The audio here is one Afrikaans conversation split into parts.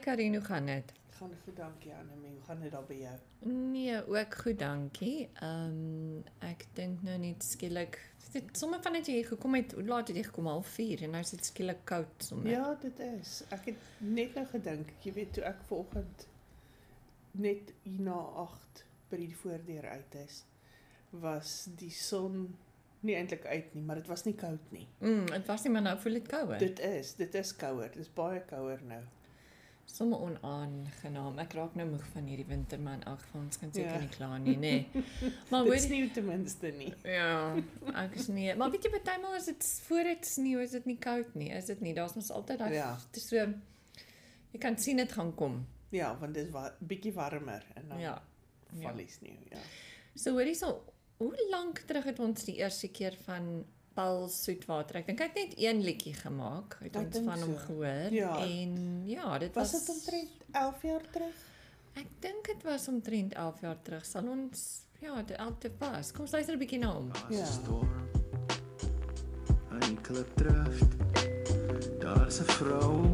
Karino gaan dit? Gaan goed, dankie Annelie. Hoe gaan dit daar by jou? Nee, ook goed, dankie. Ehm um, ek dink nou net skielik dit sommer van net jy hier gekom het, hoe laat het jy gekom? 04:30 en nou is dit skielik koud sommer. Ja, dit is. Ek het net nou gedink, jy weet toe ek vanoggend net hier na 8 by die voordeur uit is, was die son nie eintlik uit nie, maar dit was nie koud nie. Mm, dit was nie maar nou voel dit kouer. Dit is, dit is kouer. Dit is baie kouer nou. Somme onaangenaam. Ek raak nou moeg van hierdie winter man. Ag, ons kan seker Ja. nie klaar nie, nê. Nee. maar Dit hoor sneeu ten minste nie. Ja, ek is nie. Maar weet jy partymal is dit voor dit sneeu, is dit nie koud nie. Is dit nie? Daar's mos altyd daai Ja. dis so jy kan sien dit gaan kom. Ja, want dit is wa bietjie warmer en dan ja, Ja. val die sneeu, ja. So hoorie so, hoe lank terug het ons die eerste keer van Paul Soetwater? Ek dink hy het net een liedjie gemaak. Het Ek ons dink van hom so. gehoor Ja. en ja, dit Was was dit omtrent 11 jaar terug? Ek dink dit was omtrent 11 jaar terug. Sal ons ja, dit al te pas. Kom ons luister 'n bietjie na hom. Daar's Ja. 'n storm. Aan die klip drift. Daar's 'n vrou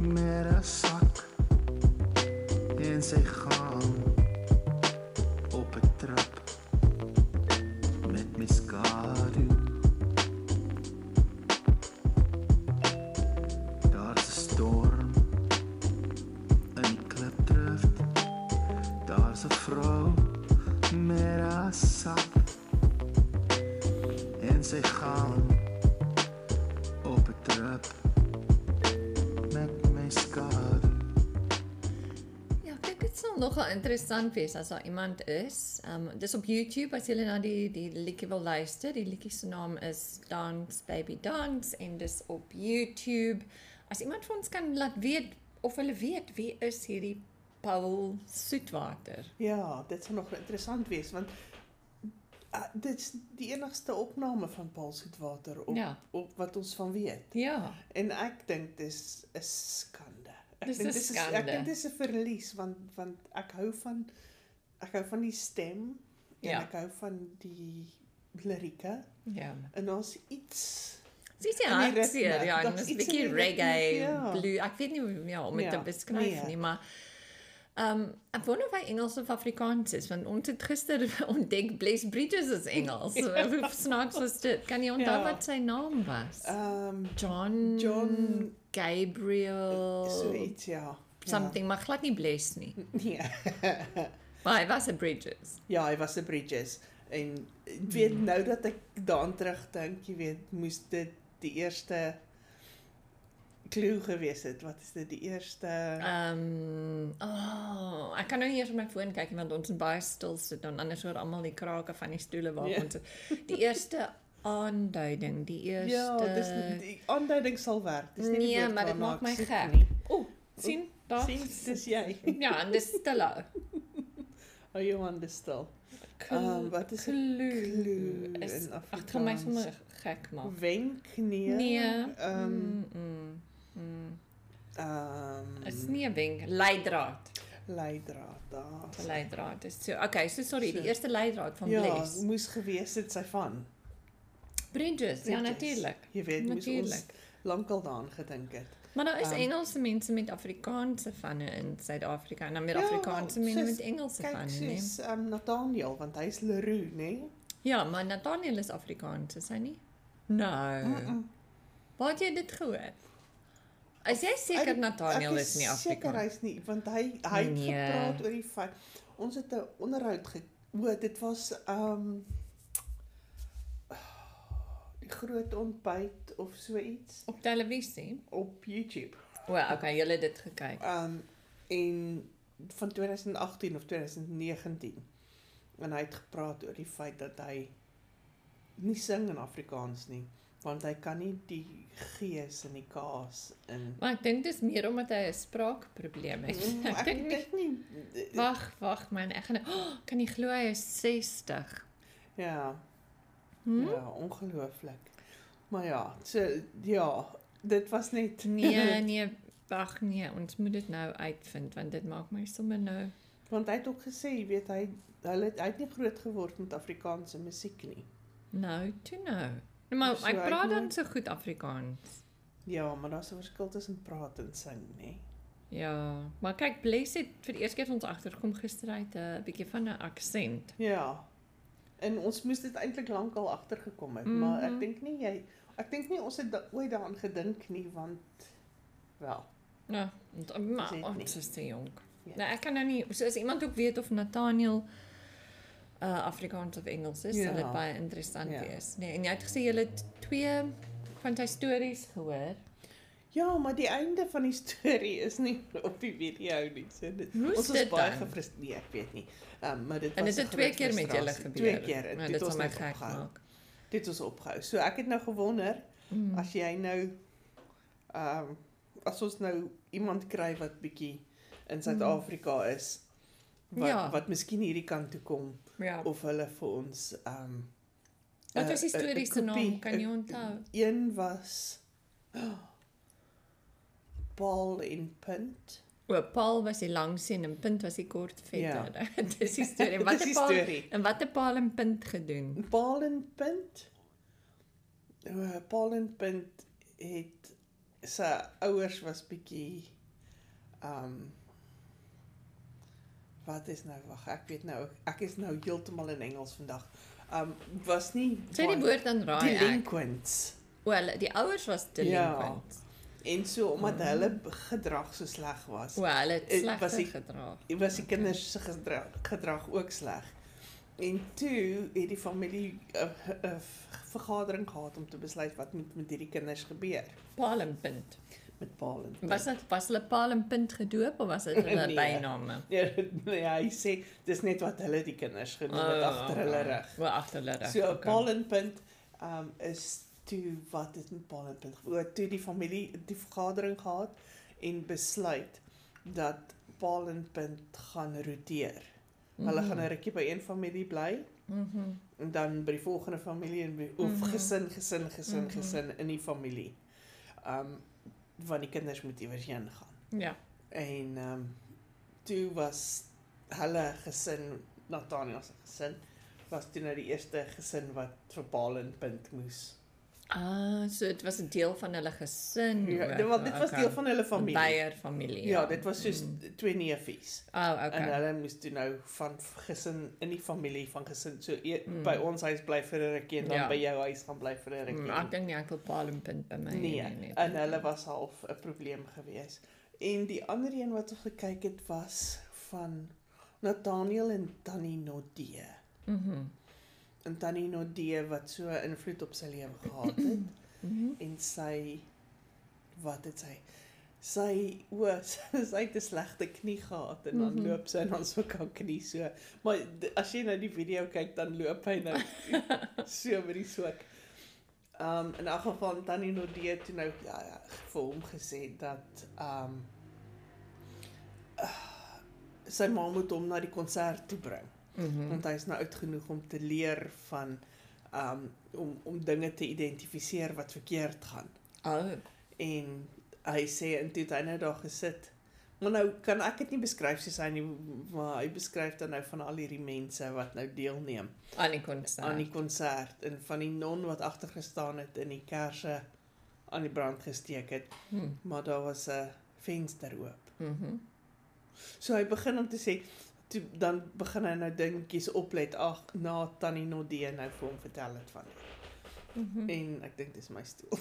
met 'n sak en sy gaan op 'n trap met my skadu. Daar's 'n storm. Aan die klip drift. Daar's 'n vrou met 'n sak en sy gaan op 'n trap met my skadu. Ja, ek dink dit sal nogal interessant wees as daar iemand is. Ehm um, dis op YouTube as jy na die die liedjie wil luister. Die liedjie se naam is Dance Baby Dance en dis op YouTube. As iemand vir ons kan laat weet of hulle weet wie is hierdie Paul Soetwater. Ja, dit sal nog interessant wees want uh, dit is die enigste opname van Paul Soetwater op, Ja. op wat ons van weet. Ja, En ek dink dis 'n skande. Ek Dis dink een is- skande. Ek dink dis 'n verlies want want ek hou van ek hou van die stem en Ja. ek hou van die lirieke ja. en daar's iets Dis ja, In die hartseer. ritme. Ja, en Daar's dis iets 'n in bietjie die reggae, ritme, ja. blue. Ek weet nie hoe ja, om dit Ja, te beskryf nee. nie, maar ehm um, ek wonder of hy Engels of Afrikaans is, want ons het gister ontdek Bless Bridges is Engels. So hoe snaaks was dit? Kan jy onthou Ja. wat sy naam was? ehm um, John John- Gabriel so iets ja. Oh. something, maar glad nie Bless nie. Ja. Nee. Maar hy was 'n Bridges. Ja, hy was 'n Bridges en ek weet Hmm. nou dat ek daaraan terugdink, jy weet, moes dit die eerste klou gewees het. Wat is dit die eerste Ehm, um, oh, ek kan nou nie eers op my foon kyk nie, want ons is baie stil sit dan anders hoor almal die krake van die stoele waar Ja. yeah. ons sit. die eerste aanduiding, die eerste Ja, dis die aanduiding sal werk. Dis nie die Nee, woord maar dit waarna maak ek my soek gek. nie. O, sien? Daar. Sien, dis jy. Ja, en dis stil. Hou jou hande stil. Ehm, wat is 'n klou? klou Is in ag, gaan my Afrikaans? sommer gek maak. Wenk nee. Ja. Nee. Ehm, Ehm mm, mm, ehm is nie 'n wenk, leidraad. leidraad daar. Dis 'n Leidraad. Dis so. Okay, so sorry, die So. eerste leidraad van Ja, Bless. moes gewees het sy van. Bridges, ja Bridges. natuurlik. Jy weet, moes ons Natuurlik. lankal daaraan gedink het. Maar daar is Um, um, Engelse mense met Afrikaanse vanne in Suid-Afrika en dan met Afrikaanse Ja, mense soos- met Engelse Kyk, vanne, nee. né? soos um, Nathaniel, want hy's Leroux, nê? Ja, maar Nathaniel is Afrikaans, is hy nie? No. Mm -mm. Waar het jy dit gehoor? Is jy seker Ek- Nathaniel ek is nie Seker Afrikaans? hy's nie, want hy hy het Nee. gepraat oor die feit ons het 'n onderhoud ge o, dit was um die groot ontbyt of so iets Op televisie. op YouTube. O, well, okay, jy het dit gekyk. Um en van 2018 of 2019. En hy het gepraat oor die feit dat hy nie sing in Afrikaans nie, want hy kan nie die gees en die kaas in Maar ek dink dis meer omdat hy 'n spraakprobleem het. Mm, Ek Ek dink nie. dink nie. Wag, wag man, ek gaan oh, kan nie glo hy is 60. Ja, Hm? ja, ongelooflik. Maar ja, so ja, dit was net Nee, nee, wag nee, ons moet dit nou uitvind want dit maak my sommer nou. want hy het ook gesê, jy weet, hy hulle het- hy het nie groot geword met Afrikaanse musiek nie. Nou, toe nou. Nou maar So, ek ek praat dan moet- so goed Afrikaans. Ja, maar daar's 'n verskil tussen praat en sing, nê? Ja, maar kyk, Bless het vir die eerste keer vir ons agterkom gister uit 'n bietjie van 'n aksent. Ja. En ons moes dit eintlik lankal agtergekom het, mm -hmm. maar ek Mhm. dink nie jy ek dink nie ons het da ooit daaraan gedink nie want wel. Ja, en- maar Dis net nie. ons is te jonk. Ja. Nou ek kan nou nie so as iemand ook weet of Nathaniel uh Afrikaans of Engels is, sal Ja. dit baie interessant Ja. wees. Nee, en jy het gesê jy het twee van sy stories gehoor. Ja, maar die einde van die storie is nie op die video nie. So dit Hoe is ons dit is baie dan? gefrustreerd, nee, ek weet nie. Ehm um, maar dit was En dit 'n het twee groot keer met julle frustrasie. gebeur. Twee keer. Nou, en toe het dit sal ons my net gek opgehou. maak. Dit het ons opgehou. So ek het nou gewonder Mm. as jy nou ehm um, as ons nou iemand kry wat bietjie in Suid-Afrika is wat Mm. Ja. wat miskien hierdie kant toe kom Ja. of hulle vir ons ehm um, Wat eh, was die eh, 'n stories se kopie- naam? Kan jy eh, onthou? Een was Paul en Punt. O, Paul was die langsien en Punt was die kort vetter. Ja. Dis die storie. Wat Dis het die Paul storie. en wat het Paul en Punt gedoen? Paul en Punt. Eh, Paul en Punt het sy ouers was bietjie ehm um, wat is nou wag, ek weet nou ek is nou heeltemal in Engels vandag. Ehm um, was nie Sê die woord dan raai ek. delinquents. O, hulle- die ouers was delinquent. Ja. En so Mm. omdat hulle gedrag so sleg was. O, hulle het Eh, was sleg die- gedra. was die kinders se gedrag, gedrag ook sleg. En toe het die familie 'n uh, uh, vergadering gehad om te besluit wat moet met hierdie kinders gebeur Paul en Punt. met Paul en Was dit was hulle Paul en Punt gedoop of was dit hulle Nee. nee. byname? nee, nee, hy sê dis net wat hulle die kinders genoem het oh, agter hulle rug. O, agter hulle rug. So okay. Ah, okay. Paul en Punt um is toe wat het met Paul en Punt gebeur? Toe die familie die vergadering gehad en besluit dat Paul en Punt gaan roteer. Hulle Mm. gaan nou 'n rukkie by een familie bly Mhm. en dan by die volgende familie en by, of mm Mhm. -hmm. gesin gesin gesin mm Mhm. -hmm. gesin in die familie. Um want die kinders moet iewers heen gaan. Ja. En um toe was hulle gesin Nathaniel se gesin was toe nou die eerste gesin wat vir Paul en Punt moes. Ah, so dit was 'n deel van hulle gesin. Ja, dit was dit was deel van hulle familie. Beier familie. Ja, dit was soos Mm. twee neefies. Oh, Okay. En okay. hulle moes toe nou van gesin in die familie van gesin so e Mm. mm. by ons huis bly vir 'n rukkie en dan Ja. ja. by jou huis gaan bly vir 'n rukkie. Mm, Ek dink nie ek wil Paul en Punt by my hê Nee, nie. en hulle was half 'n probleem gewees. En die ander een wat ons gekyk het was van Nathaniel en Tannie Nodee. Mhm. En Tannie Nodee wat so 'n invloed op sy lewe gehad het Mhm. en sy wat het sy sy o sy het 'n slegte knie gehad en dan Mhm. loop sy en dan so kan knie so. Maar d- as jy nou die video kyk dan loop hy nou so met die swak. Um in elk geval Tannie Nodee toe nou ja, ja, vir hom gesê dat um sy ma moet hom na die konsert toe bring Mhm. want hy's nou oud genoeg om te leer van um om om dinge te identifiseer wat verkeerd gaan. Oh. En hy sê intoe hy nou daar gesit. Maar nou kan ek dit nie beskryf soos hy nie, maar hy beskryf dan nou van al hierdie mense wat nou deelneem Aan die konsert. aan die konsert en van die non wat agtergestaan het en die kersse aan die brand gesteek het, Mhm. maar daar was 'n venster oop. Mhm. So hy begin om te sê toe dan begin hy nou dingetjies oplet ag na Tannie Nodee nou vir hom vertel het van. dit. Mhm. En ek dink dis my stoel.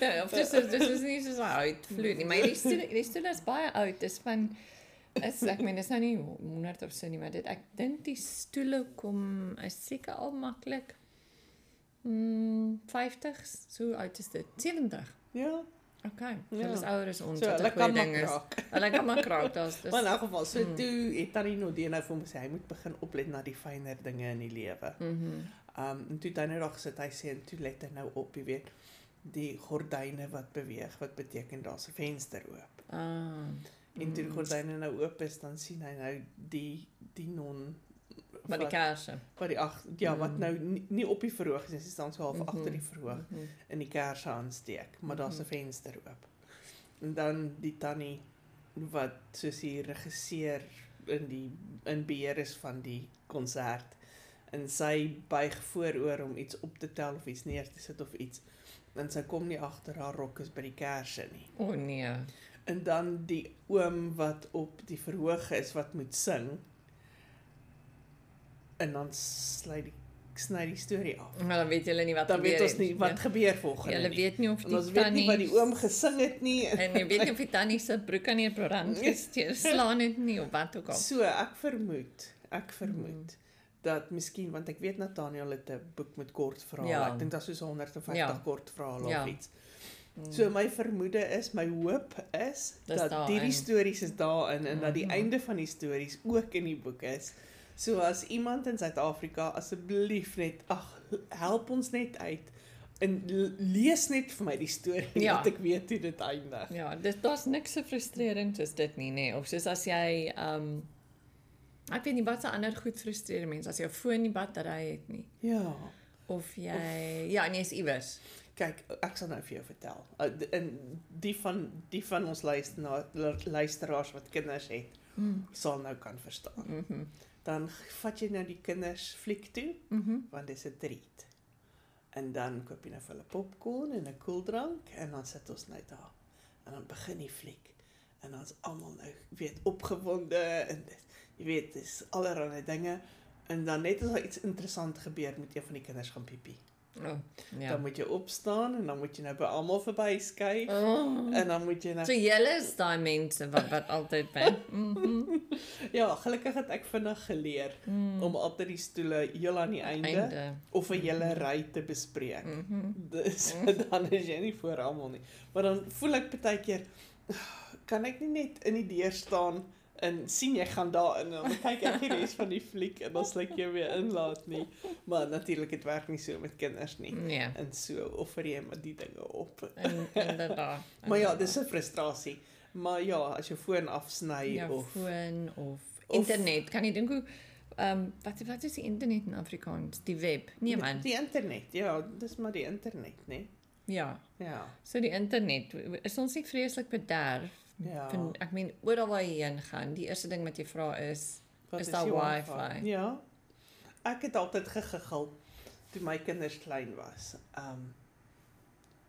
Ja, of dis dis is nie so 'n oud vloed nie, maar die stoel die stoel is baie oud. Dis van is ek meen dis nou nie 100 of so nie, maar dit ek dink die stoele kom is seker al maklik. Mm, 50, so hoe oud is dit? 70. Ja, Okay. Ja. Hulle is ouer as ons. so hulle kan maar is. raak. Hulle kan maar kraak, daar's dis. Maar nou- in elk geval, so Mm. toe het Tannie Nodee nou vir hom gesê hy moet begin oplet na die fynere dinge in die lewe. Mhm. Um en toe het hy nou daar gesit, hy sê en toe let hy nou op, jy weet, die gordyne wat beweeg, wat beteken daar's 'n venster oop. Ah. En toe Mm. die gordyne nou oop is, dan sien hy nou die die non Maar die wat- kersse. wat die ag ja wat Mm. nou nie, nie op die verhoog is nie, sy staan so half Mhm. agter die verhoog Mhm. in die kersse aansteek, maar daar's 'n Mhm. venster oop. En dan die tannie wat soos die regisseur in die in beheer is van die konsert en sy buig vooroor om iets op te tel of iets neer te sit of iets en sy kom nie agter haar rok is by die kersse nie. O nee. En dan die oom wat op die verhoog is wat moet sing. En dan sny die sny die storie af. Maar dan weet julle nie wat Dan weet ons het Ja. nie wat gebeur volgende Julle nie. weet nie of En die ons weet nie tannie wat die oom gesing het nie. en jy weet nie of die tannie se broek aan die brand gesteek slaan het nie of wat ook al. Mm. So ek vermoed, ek vermoed dat miskien want ek weet Nathaniel het 'n boek met kort verhale. Ja. Ek dink daar's soos 150 Ja. kort verhale Ja. of iets. Mm. So my vermoede is, my hoop is Dis dat daarin. hierdie stories is daarin en dat die Mhm. einde van die stories ook in die boek is. So as iemand in Suid-Afrika asseblief net ag help ons net uit en l- lees net vir my die storie Ja. ja. dat ek weet hoe dit eindig. Ja, dit daar's niks so frustrerend soos dit nie, nê. Of soos as jy ehm um, ek weet nie wat se ander goed frustreer mense as jou foon nie battery het nie Ja. of jy of, ja, en jy's iewers. Kyk, ek sal nou vir jou vertel. Uh, d- In die van die van ons luisteraar luisteraars wat kinders het, Mhm. sal nou kan verstaan. Mhm. Dan vat jy nou die kinders fliek toe Mhm. want dis 'n treat. En dan koop jy nou vir hulle popcorn en 'n koeldrank en dan sit ons nou daar. En dan begin die fliek. En dan's almal nou, jy weet, opgewonde en dit, jy weet, dis allerlei dinge en dan net as daar iets interessant gebeur met een van die kinders gaan piepie. Oh, Ja. ja. Dan moet jy opstaan en dan moet jy nou by almal verbyskuif Oh. en dan moet jy nou So julle is daai mense wat wat altyd by. Mhm. Ja, gelukkig het ek vinnig geleer Mm. mm. om altyd die stoele heel aan die einde, einde. Mm. Einde. of 'n hele ry te bespreek. Mhm. Dis dan is jy nie voor almal nie. Maar dan voel ek baie keer kan ek nie net in die deur staan en sien jy gaan daarin en dan kyk ek die res van die fliek en dan sluk jy weer inlaat nie. Maar natuurlik dit werk nie so met kinders nie. Nee. En so offer jy maar die dinge op. In- Inderdaad. Maar ja, dis 'n frustrasie. Maar ja, as jou foon afsny ja, jou of foon of Of- internet. Kan jy dink hoe ehm um, wat wat is die internet in Afrikaans? Die web. Nee man. Die internet. Ja, dis maar die internet, nê? Ja. Ja. So die internet is ons nie vreeslik bederf. Ja. Van, ek meen oral waar jy heen gaan, die eerste ding wat jy vra is Wat Is daar die wifi? Ja. Ek het altyd gegigel toe my kinders klein was. Um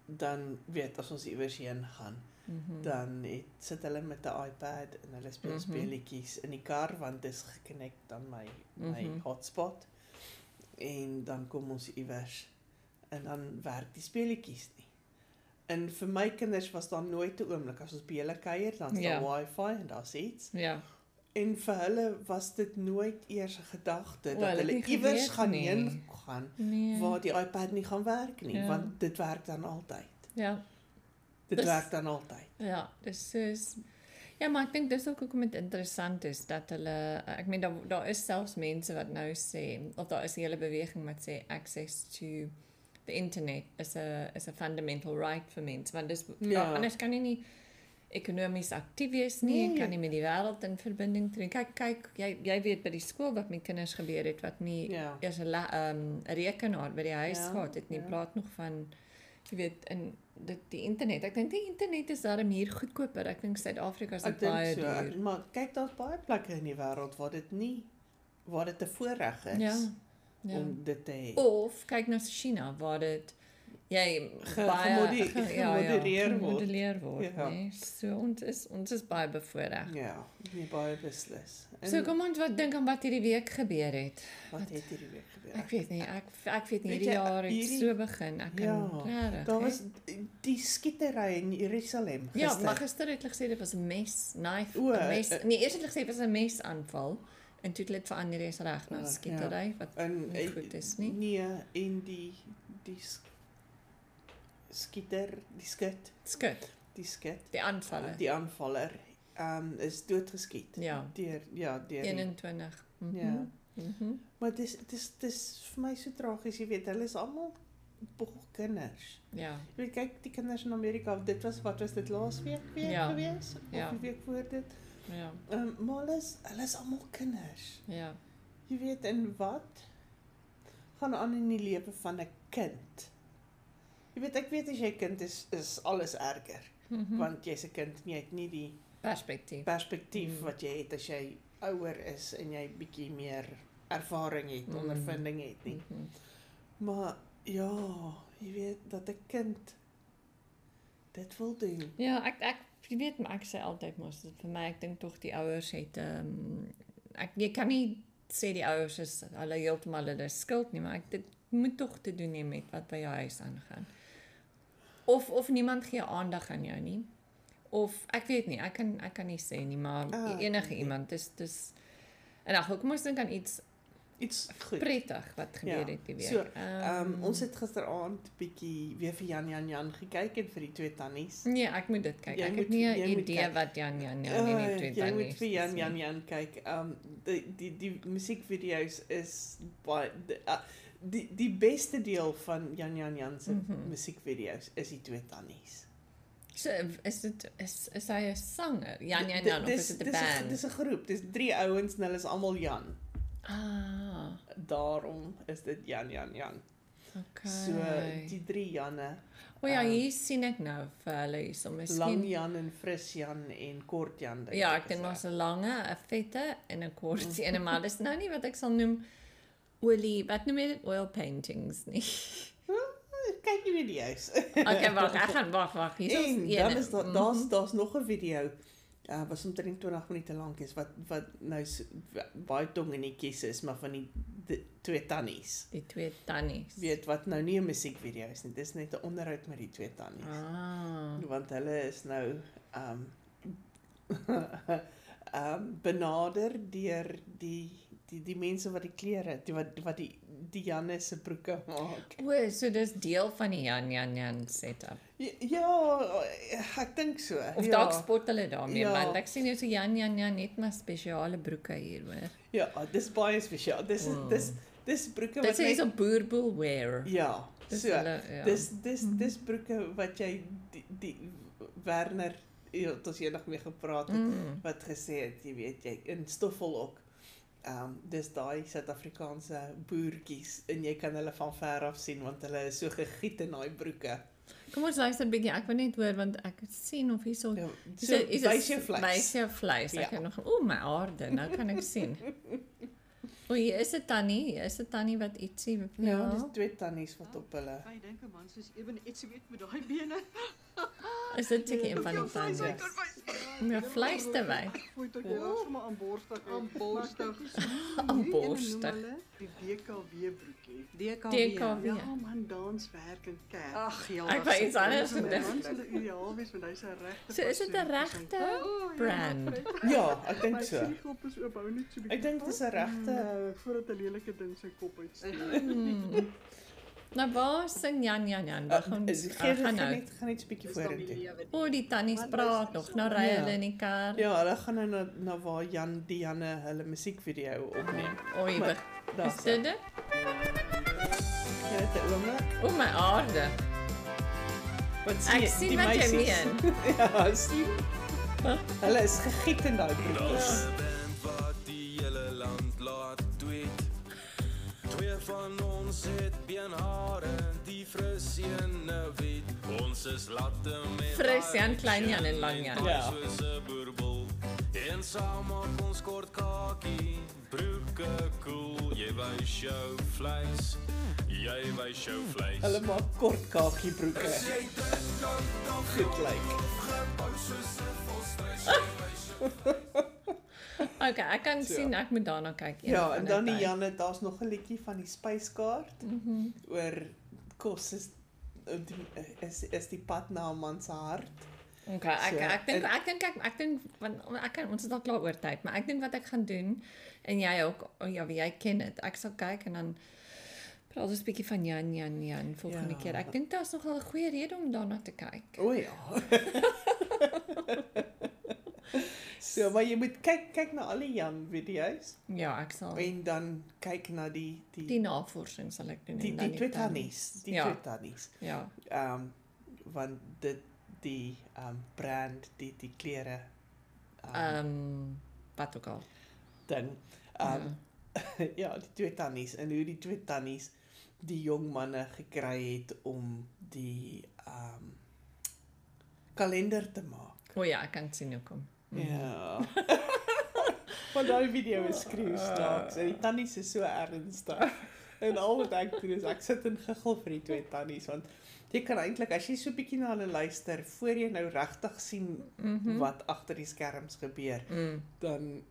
dan weet as ons iewers heen gaan, mm -hmm, dan het, sit hulle met 'n iPad en hulle speel Mhm. mm -hmm. speletjies in die kar want dit is gekonnekt aan my my mm Mhm. -hmm. hotspot. En dan kom ons iewers en dan werk die speletjies nie. En vir my kinders was daar nooit 'n oomblik as ons by hulle kuier, dan is Ja. daar wifi en daar's iets. ja. En vir hulle was dit nooit eers 'n gedagte O, dat hulle het hulle nie iewers geweet gaan nie. heen gaan Nee. waar die iPad nie gaan werk nie, Ja. ja. want dit werk dan altyd. Ja. Dis- Dit Dis... werk dan altyd. Ja, dis soos Ja, maar ek dink dis ook hoekom dit interessant is dat hulle ek meen daar daar is selfs mense wat nou sê of daar is 'n hele beweging wat sê access to the internet is 'n is 'n fundamental right vir mense want dis ja. Ja. anders kan jy nie ekonomies aktief wees nie, jy Nee. kan nie met die wêreld in verbinding tree. Kyk, kyk, jy jy weet by die skool wat met kinders gebeur het wat nie Ja. eers 'n la- ehm um, rekenaar by die huis ja, Ja, gehad het nie. Ja. ja. Praat nog van jy weet in dit die internet. Ek dink die internet is daarom hier goedkoper. Ek dink Suid-Afrika is Ek dit dink baie so, ek, duur. maar kyk daar's baie plekke in die wêreld waar dit nie waar dit 'n voorreg is Ja. Ja. om dit te hê. Of kyk na China waar dit jy Ge- baie ja, gemodi- gemodereer word. gemodelleer word, ja. Ja. nee. So ons is ons is baie bevoordeel. Ja, nee baie beslis. En So kom ons wat dink aan wat hierdie week gebeur het. wat het hierdie week gebeur? Ek weet nie, ek ek weet nie Weet hierdie jy, jaar het hierdie- so begin. Ek kan Ja, regtig. Daar hè? was die skietery in Jerusalem gister. Ja, maar gister het hulle gesê dit was 'n mes, knife, O, 'n mes. eh, Nee, eers het hulle gesê dit was 'n mesaanval en toe het hulle dit verander is reg na Ah, skietery wat en nie eh, goed is nie. Nee, en die die sk- skieter, die skut, skit, die skut, die aanvalle. die aanvaller, ehm um, is doodgeskiet. Ja, Deur ja, deur. die- 21. Mhm. Ja. Mhm. Maar dis dis dis vir my so tragies, jy weet, hulle is almal bog kinders. Ja. Jy weet kyk die kinders in Amerika, dit was wat was dit laas week weer Ja. gewees? Of Ja. die week voor dit. Ja. Ehm um, maar hulle is hulle is almal kinders. Ja. Jy weet en wat gaan aan in die lewe van 'n kind? Jy weet ek weet as jy 'n kind is is alles erger Mhm. hmm. want jy's 'n kind en jy het nie die Perspektief. perspektief Hmm. hmm. wat jy het as jy ouer is en jy bietjie meer ervaring het, Hmm. hmm. ondervinding het nie. Mhm. Maar ja, Jy weet dat 'n kind dit wil doen. Ja, ek ek jy weet maar ek sê altyd mos dit vir my ek dink tog die ouers het ehm ek jy kan nie sê die ouers is hulle heeltemal hulle skuld nie, maar ek dit moet tog te doen hê met wat by jou huis aangaan. Of of niemand gee aandag aan jou nie. Of ek weet nie, ek kan ek kan nie sê nie, maar e-, Ah, enige nee. iemand dis dis en ag, kom ons dink aan iets Iets goed. prettig wat gebeur Ja, het die week. so, Ehm Mm. um, ons het gisteraand bietjie weer vir Jan Jan Jan gekyk en vir die twee tannies. Nee, ek moet dit kyk. Jy Ek moet- het nie jy 'n moet idee kyk. wat Jan Jan Jan in nee, die Ai, twee jy tannies. moet vir Jan is nie. Jan Jan kyk. Ehm die die die musiekvideo's is baie die, uh, die die beste deel van Jan Jan Jan se mm Mhm. -hmm. musiekvideo's is die twee tannies. So is dit is is hy 'n sanger? Ja, Jan Jan Di- Jan of dis- is dit 'n dis 'n- band? Dis 'n groep. Dis drie ouens en hulle is almal Jan. Ah, Daarom is dit Jan Jan Jan. okay. So die drie Janne, o ja, ehm, hier sien ek nou vir hulle hierso Lang miskien. Jan en Fris Jan en Kort Jan. Ja, is ek dink hy. daar's 'n lange, 'n vette en 'n kort een, maar dis nou nie wat ek sal noem olie, wat noem jy dit? Oil paintings nie. Ah, Kyk jy weer die huis. Okay, wag, ek gaan wag, wag. Hier is En een. dan is daar Mhm. daar's daar's nog 'n video uh was omtrent 20 minute lank is wat wat nou so, baie tong in die kies is maar van die, die twee tannies. die twee tannies. Weet wat nou nie 'n musiekvideo is nie, dis net 'n onderhoud met die twee tannies. Ah. Want hulle is nou um um benader deur die die die mense wat die klere, die wat wat die die Janne se broeke maak. O, so dis deel van die Jan Jan Jan setup. Ja, ja ek dink so. Of ja. ja. dalk spot hulle daarmee, Ja. ja. want ek sien nou so Jan Jan Jan net maar spesiale broeke hier hoor. Ja, dis baie spesiaal. Dis is Wow. dis dis broeke Hmm. Dit wat sê so boerboel wear. ja, Dis so. hulle ja. Dis dis dis broeke wat jy die, die Werner het ons eendag mee gepraat het mm. wat gesê het, jy weet jy in stoffel ook. Ehm um, dis daai Suid-Afrikaanse boertjies en jy kan hulle van ver af sien want hulle is so gegiet in daai broeke. Kom ons luister 'n bietjie. Ek wil net hoor want ek sien of hierso Ja, So wys jou vleis. Wysie vleis. Ek Ja. ja. nog o my aarde, nou kan ek sien. O, hier is 'n tannie, hier is 'n tannie wat ietsie Ja, beplan. dis twee tannies wat op hulle. Kan jy dink 'n man soos Eben iets weet met daai bene? Is dit seker een Hoeveel van die vleis hy tannies? kan wys? Om jou vleis te wy. Mooi tot jy was maar aan borstig. Aan borstig. Aan borstig. Die BKW broekie. DKW. Ja man, dans werk en kerk. Ag ja. Ek wou iets anders Dans gedink. sal ideaal wees want hy's Oh, 'n regte. So is dit 'n regte brand. Ja, ek dink Ek so. sien die kop is oop, hou net so 'n bietjie. Ek dink dis 'n regte Uh, voordat 'n lelike ding sy kop uitsteek. Hmm. Nou waar sing Jan Jan Jan? Uh, Waar gaan is- ah, gaan gee- gaan nou? net gaan net 'n bietjie vorentoe. O, die tannies Want praat luister, nog. so- Nou ry Ja. hulle in die kar. Ja, hulle gaan nou na, na waar Jan die Janne hulle musiekvideo opneem. O, jy Maar- beg- Daar. is dit dit? Ja, dit oomblik. O my aarde. Wat Ek sien wat jy meen. ja, sien. Hulle is gegiet in daai broekies. Daar's 'n band wat die hele land laat tweet. Twee van ons het beenhare, die frisiene wit. Ons is latte met Fris Jan, Klein Jan en Lang Jan. Ja. Soos 'n boerbol. En saam maak ons kort kakie, broeke koel, jy wys jou vleis. Jy wys jou vleis. Hulle maak kort kakie broeke. Goed lyk. Okay, ek kan So. sien ek moet daarna kyk. een Ja, van en dan die tyd. Janne, daar's nog 'n liedjie van die spyskaart Mhm. oor kos is eh, die- is is die pad na 'n man se hart. Okay, ek So, ek dink en- ek dink ek ek dink want ek kan ons is al klaar oor tyd, maar ek dink wat ek gaan doen en jy ook oh ja, wie jy ken dit. Ek sal kyk en dan praat ons 'n bietjie van Jan Jan Jan volgende Ja. ja. keer. Ek dink daar's nogal 'n goeie rede om daarna te kyk. O ja. so, maar jy moet kyk kyk na al die Jan video's Ja, ek sal en dan kyk na die die die navorsing sal ek doen die, en die dan twee tannie. tannies, die Ja. twee tannies. Ja. Ehm um, want dit die ehm um, brand, die die klere ehm um, Ehm um, wat ook al. ding. Ehm um, ja, die twee tannies en hoe die twee tannies die jong manne gekry het om die ehm um, kalender te maak. O ja, ek kan sien hoekom. Mhm. Ja. Ah. Want daai video is skreeu staaks en die tannies is so ernstig. En al wat ek doen is ek sit en giggel vir die twee tannies want jy kan eintlik as jy so bietjie na hulle luister voor jy nou regtig sien Mhm. wat agter die skerms gebeur, Mm. dan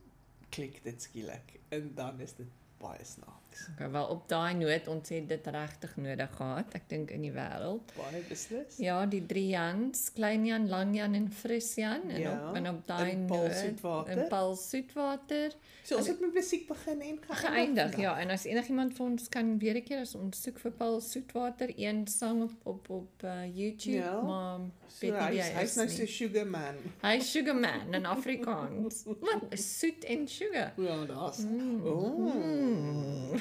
klik dit skielik en dan is dit baie snaaks. Okay, wel op daai noot ons het dit regtig nodig gehad, ek dink in die wêreld. Baie beslis. Ja, die drie Jans, Klein Jan, Lang Jan en Fris Jan en Ja, op en op daai in Paul Soetwater. In Paul Soetwater So ons het met musiek begin en geëindig. vandag. Ja, en as enigiemand vir ons kan weer 'n keer as ons soek vir Paul Soetwater, een sang op op op uh, YouTube, Ja. ja. maar So, weet nie wie hy's hy hy's is nou nie. so sugar man. hy is Sugar Man in Afrikaans. Wat is soet en sugar? Ja, daar's. Mm. Ooh.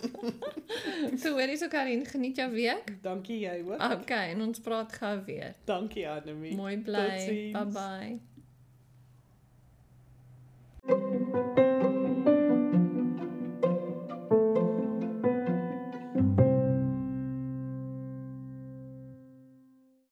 So, hoor is ook Karin, geniet jou week. Dankie jy ook. Okay, en ons praat gou weer. Dankie Anemie. Mooi Tot bly. ziens. Bye bye. Thank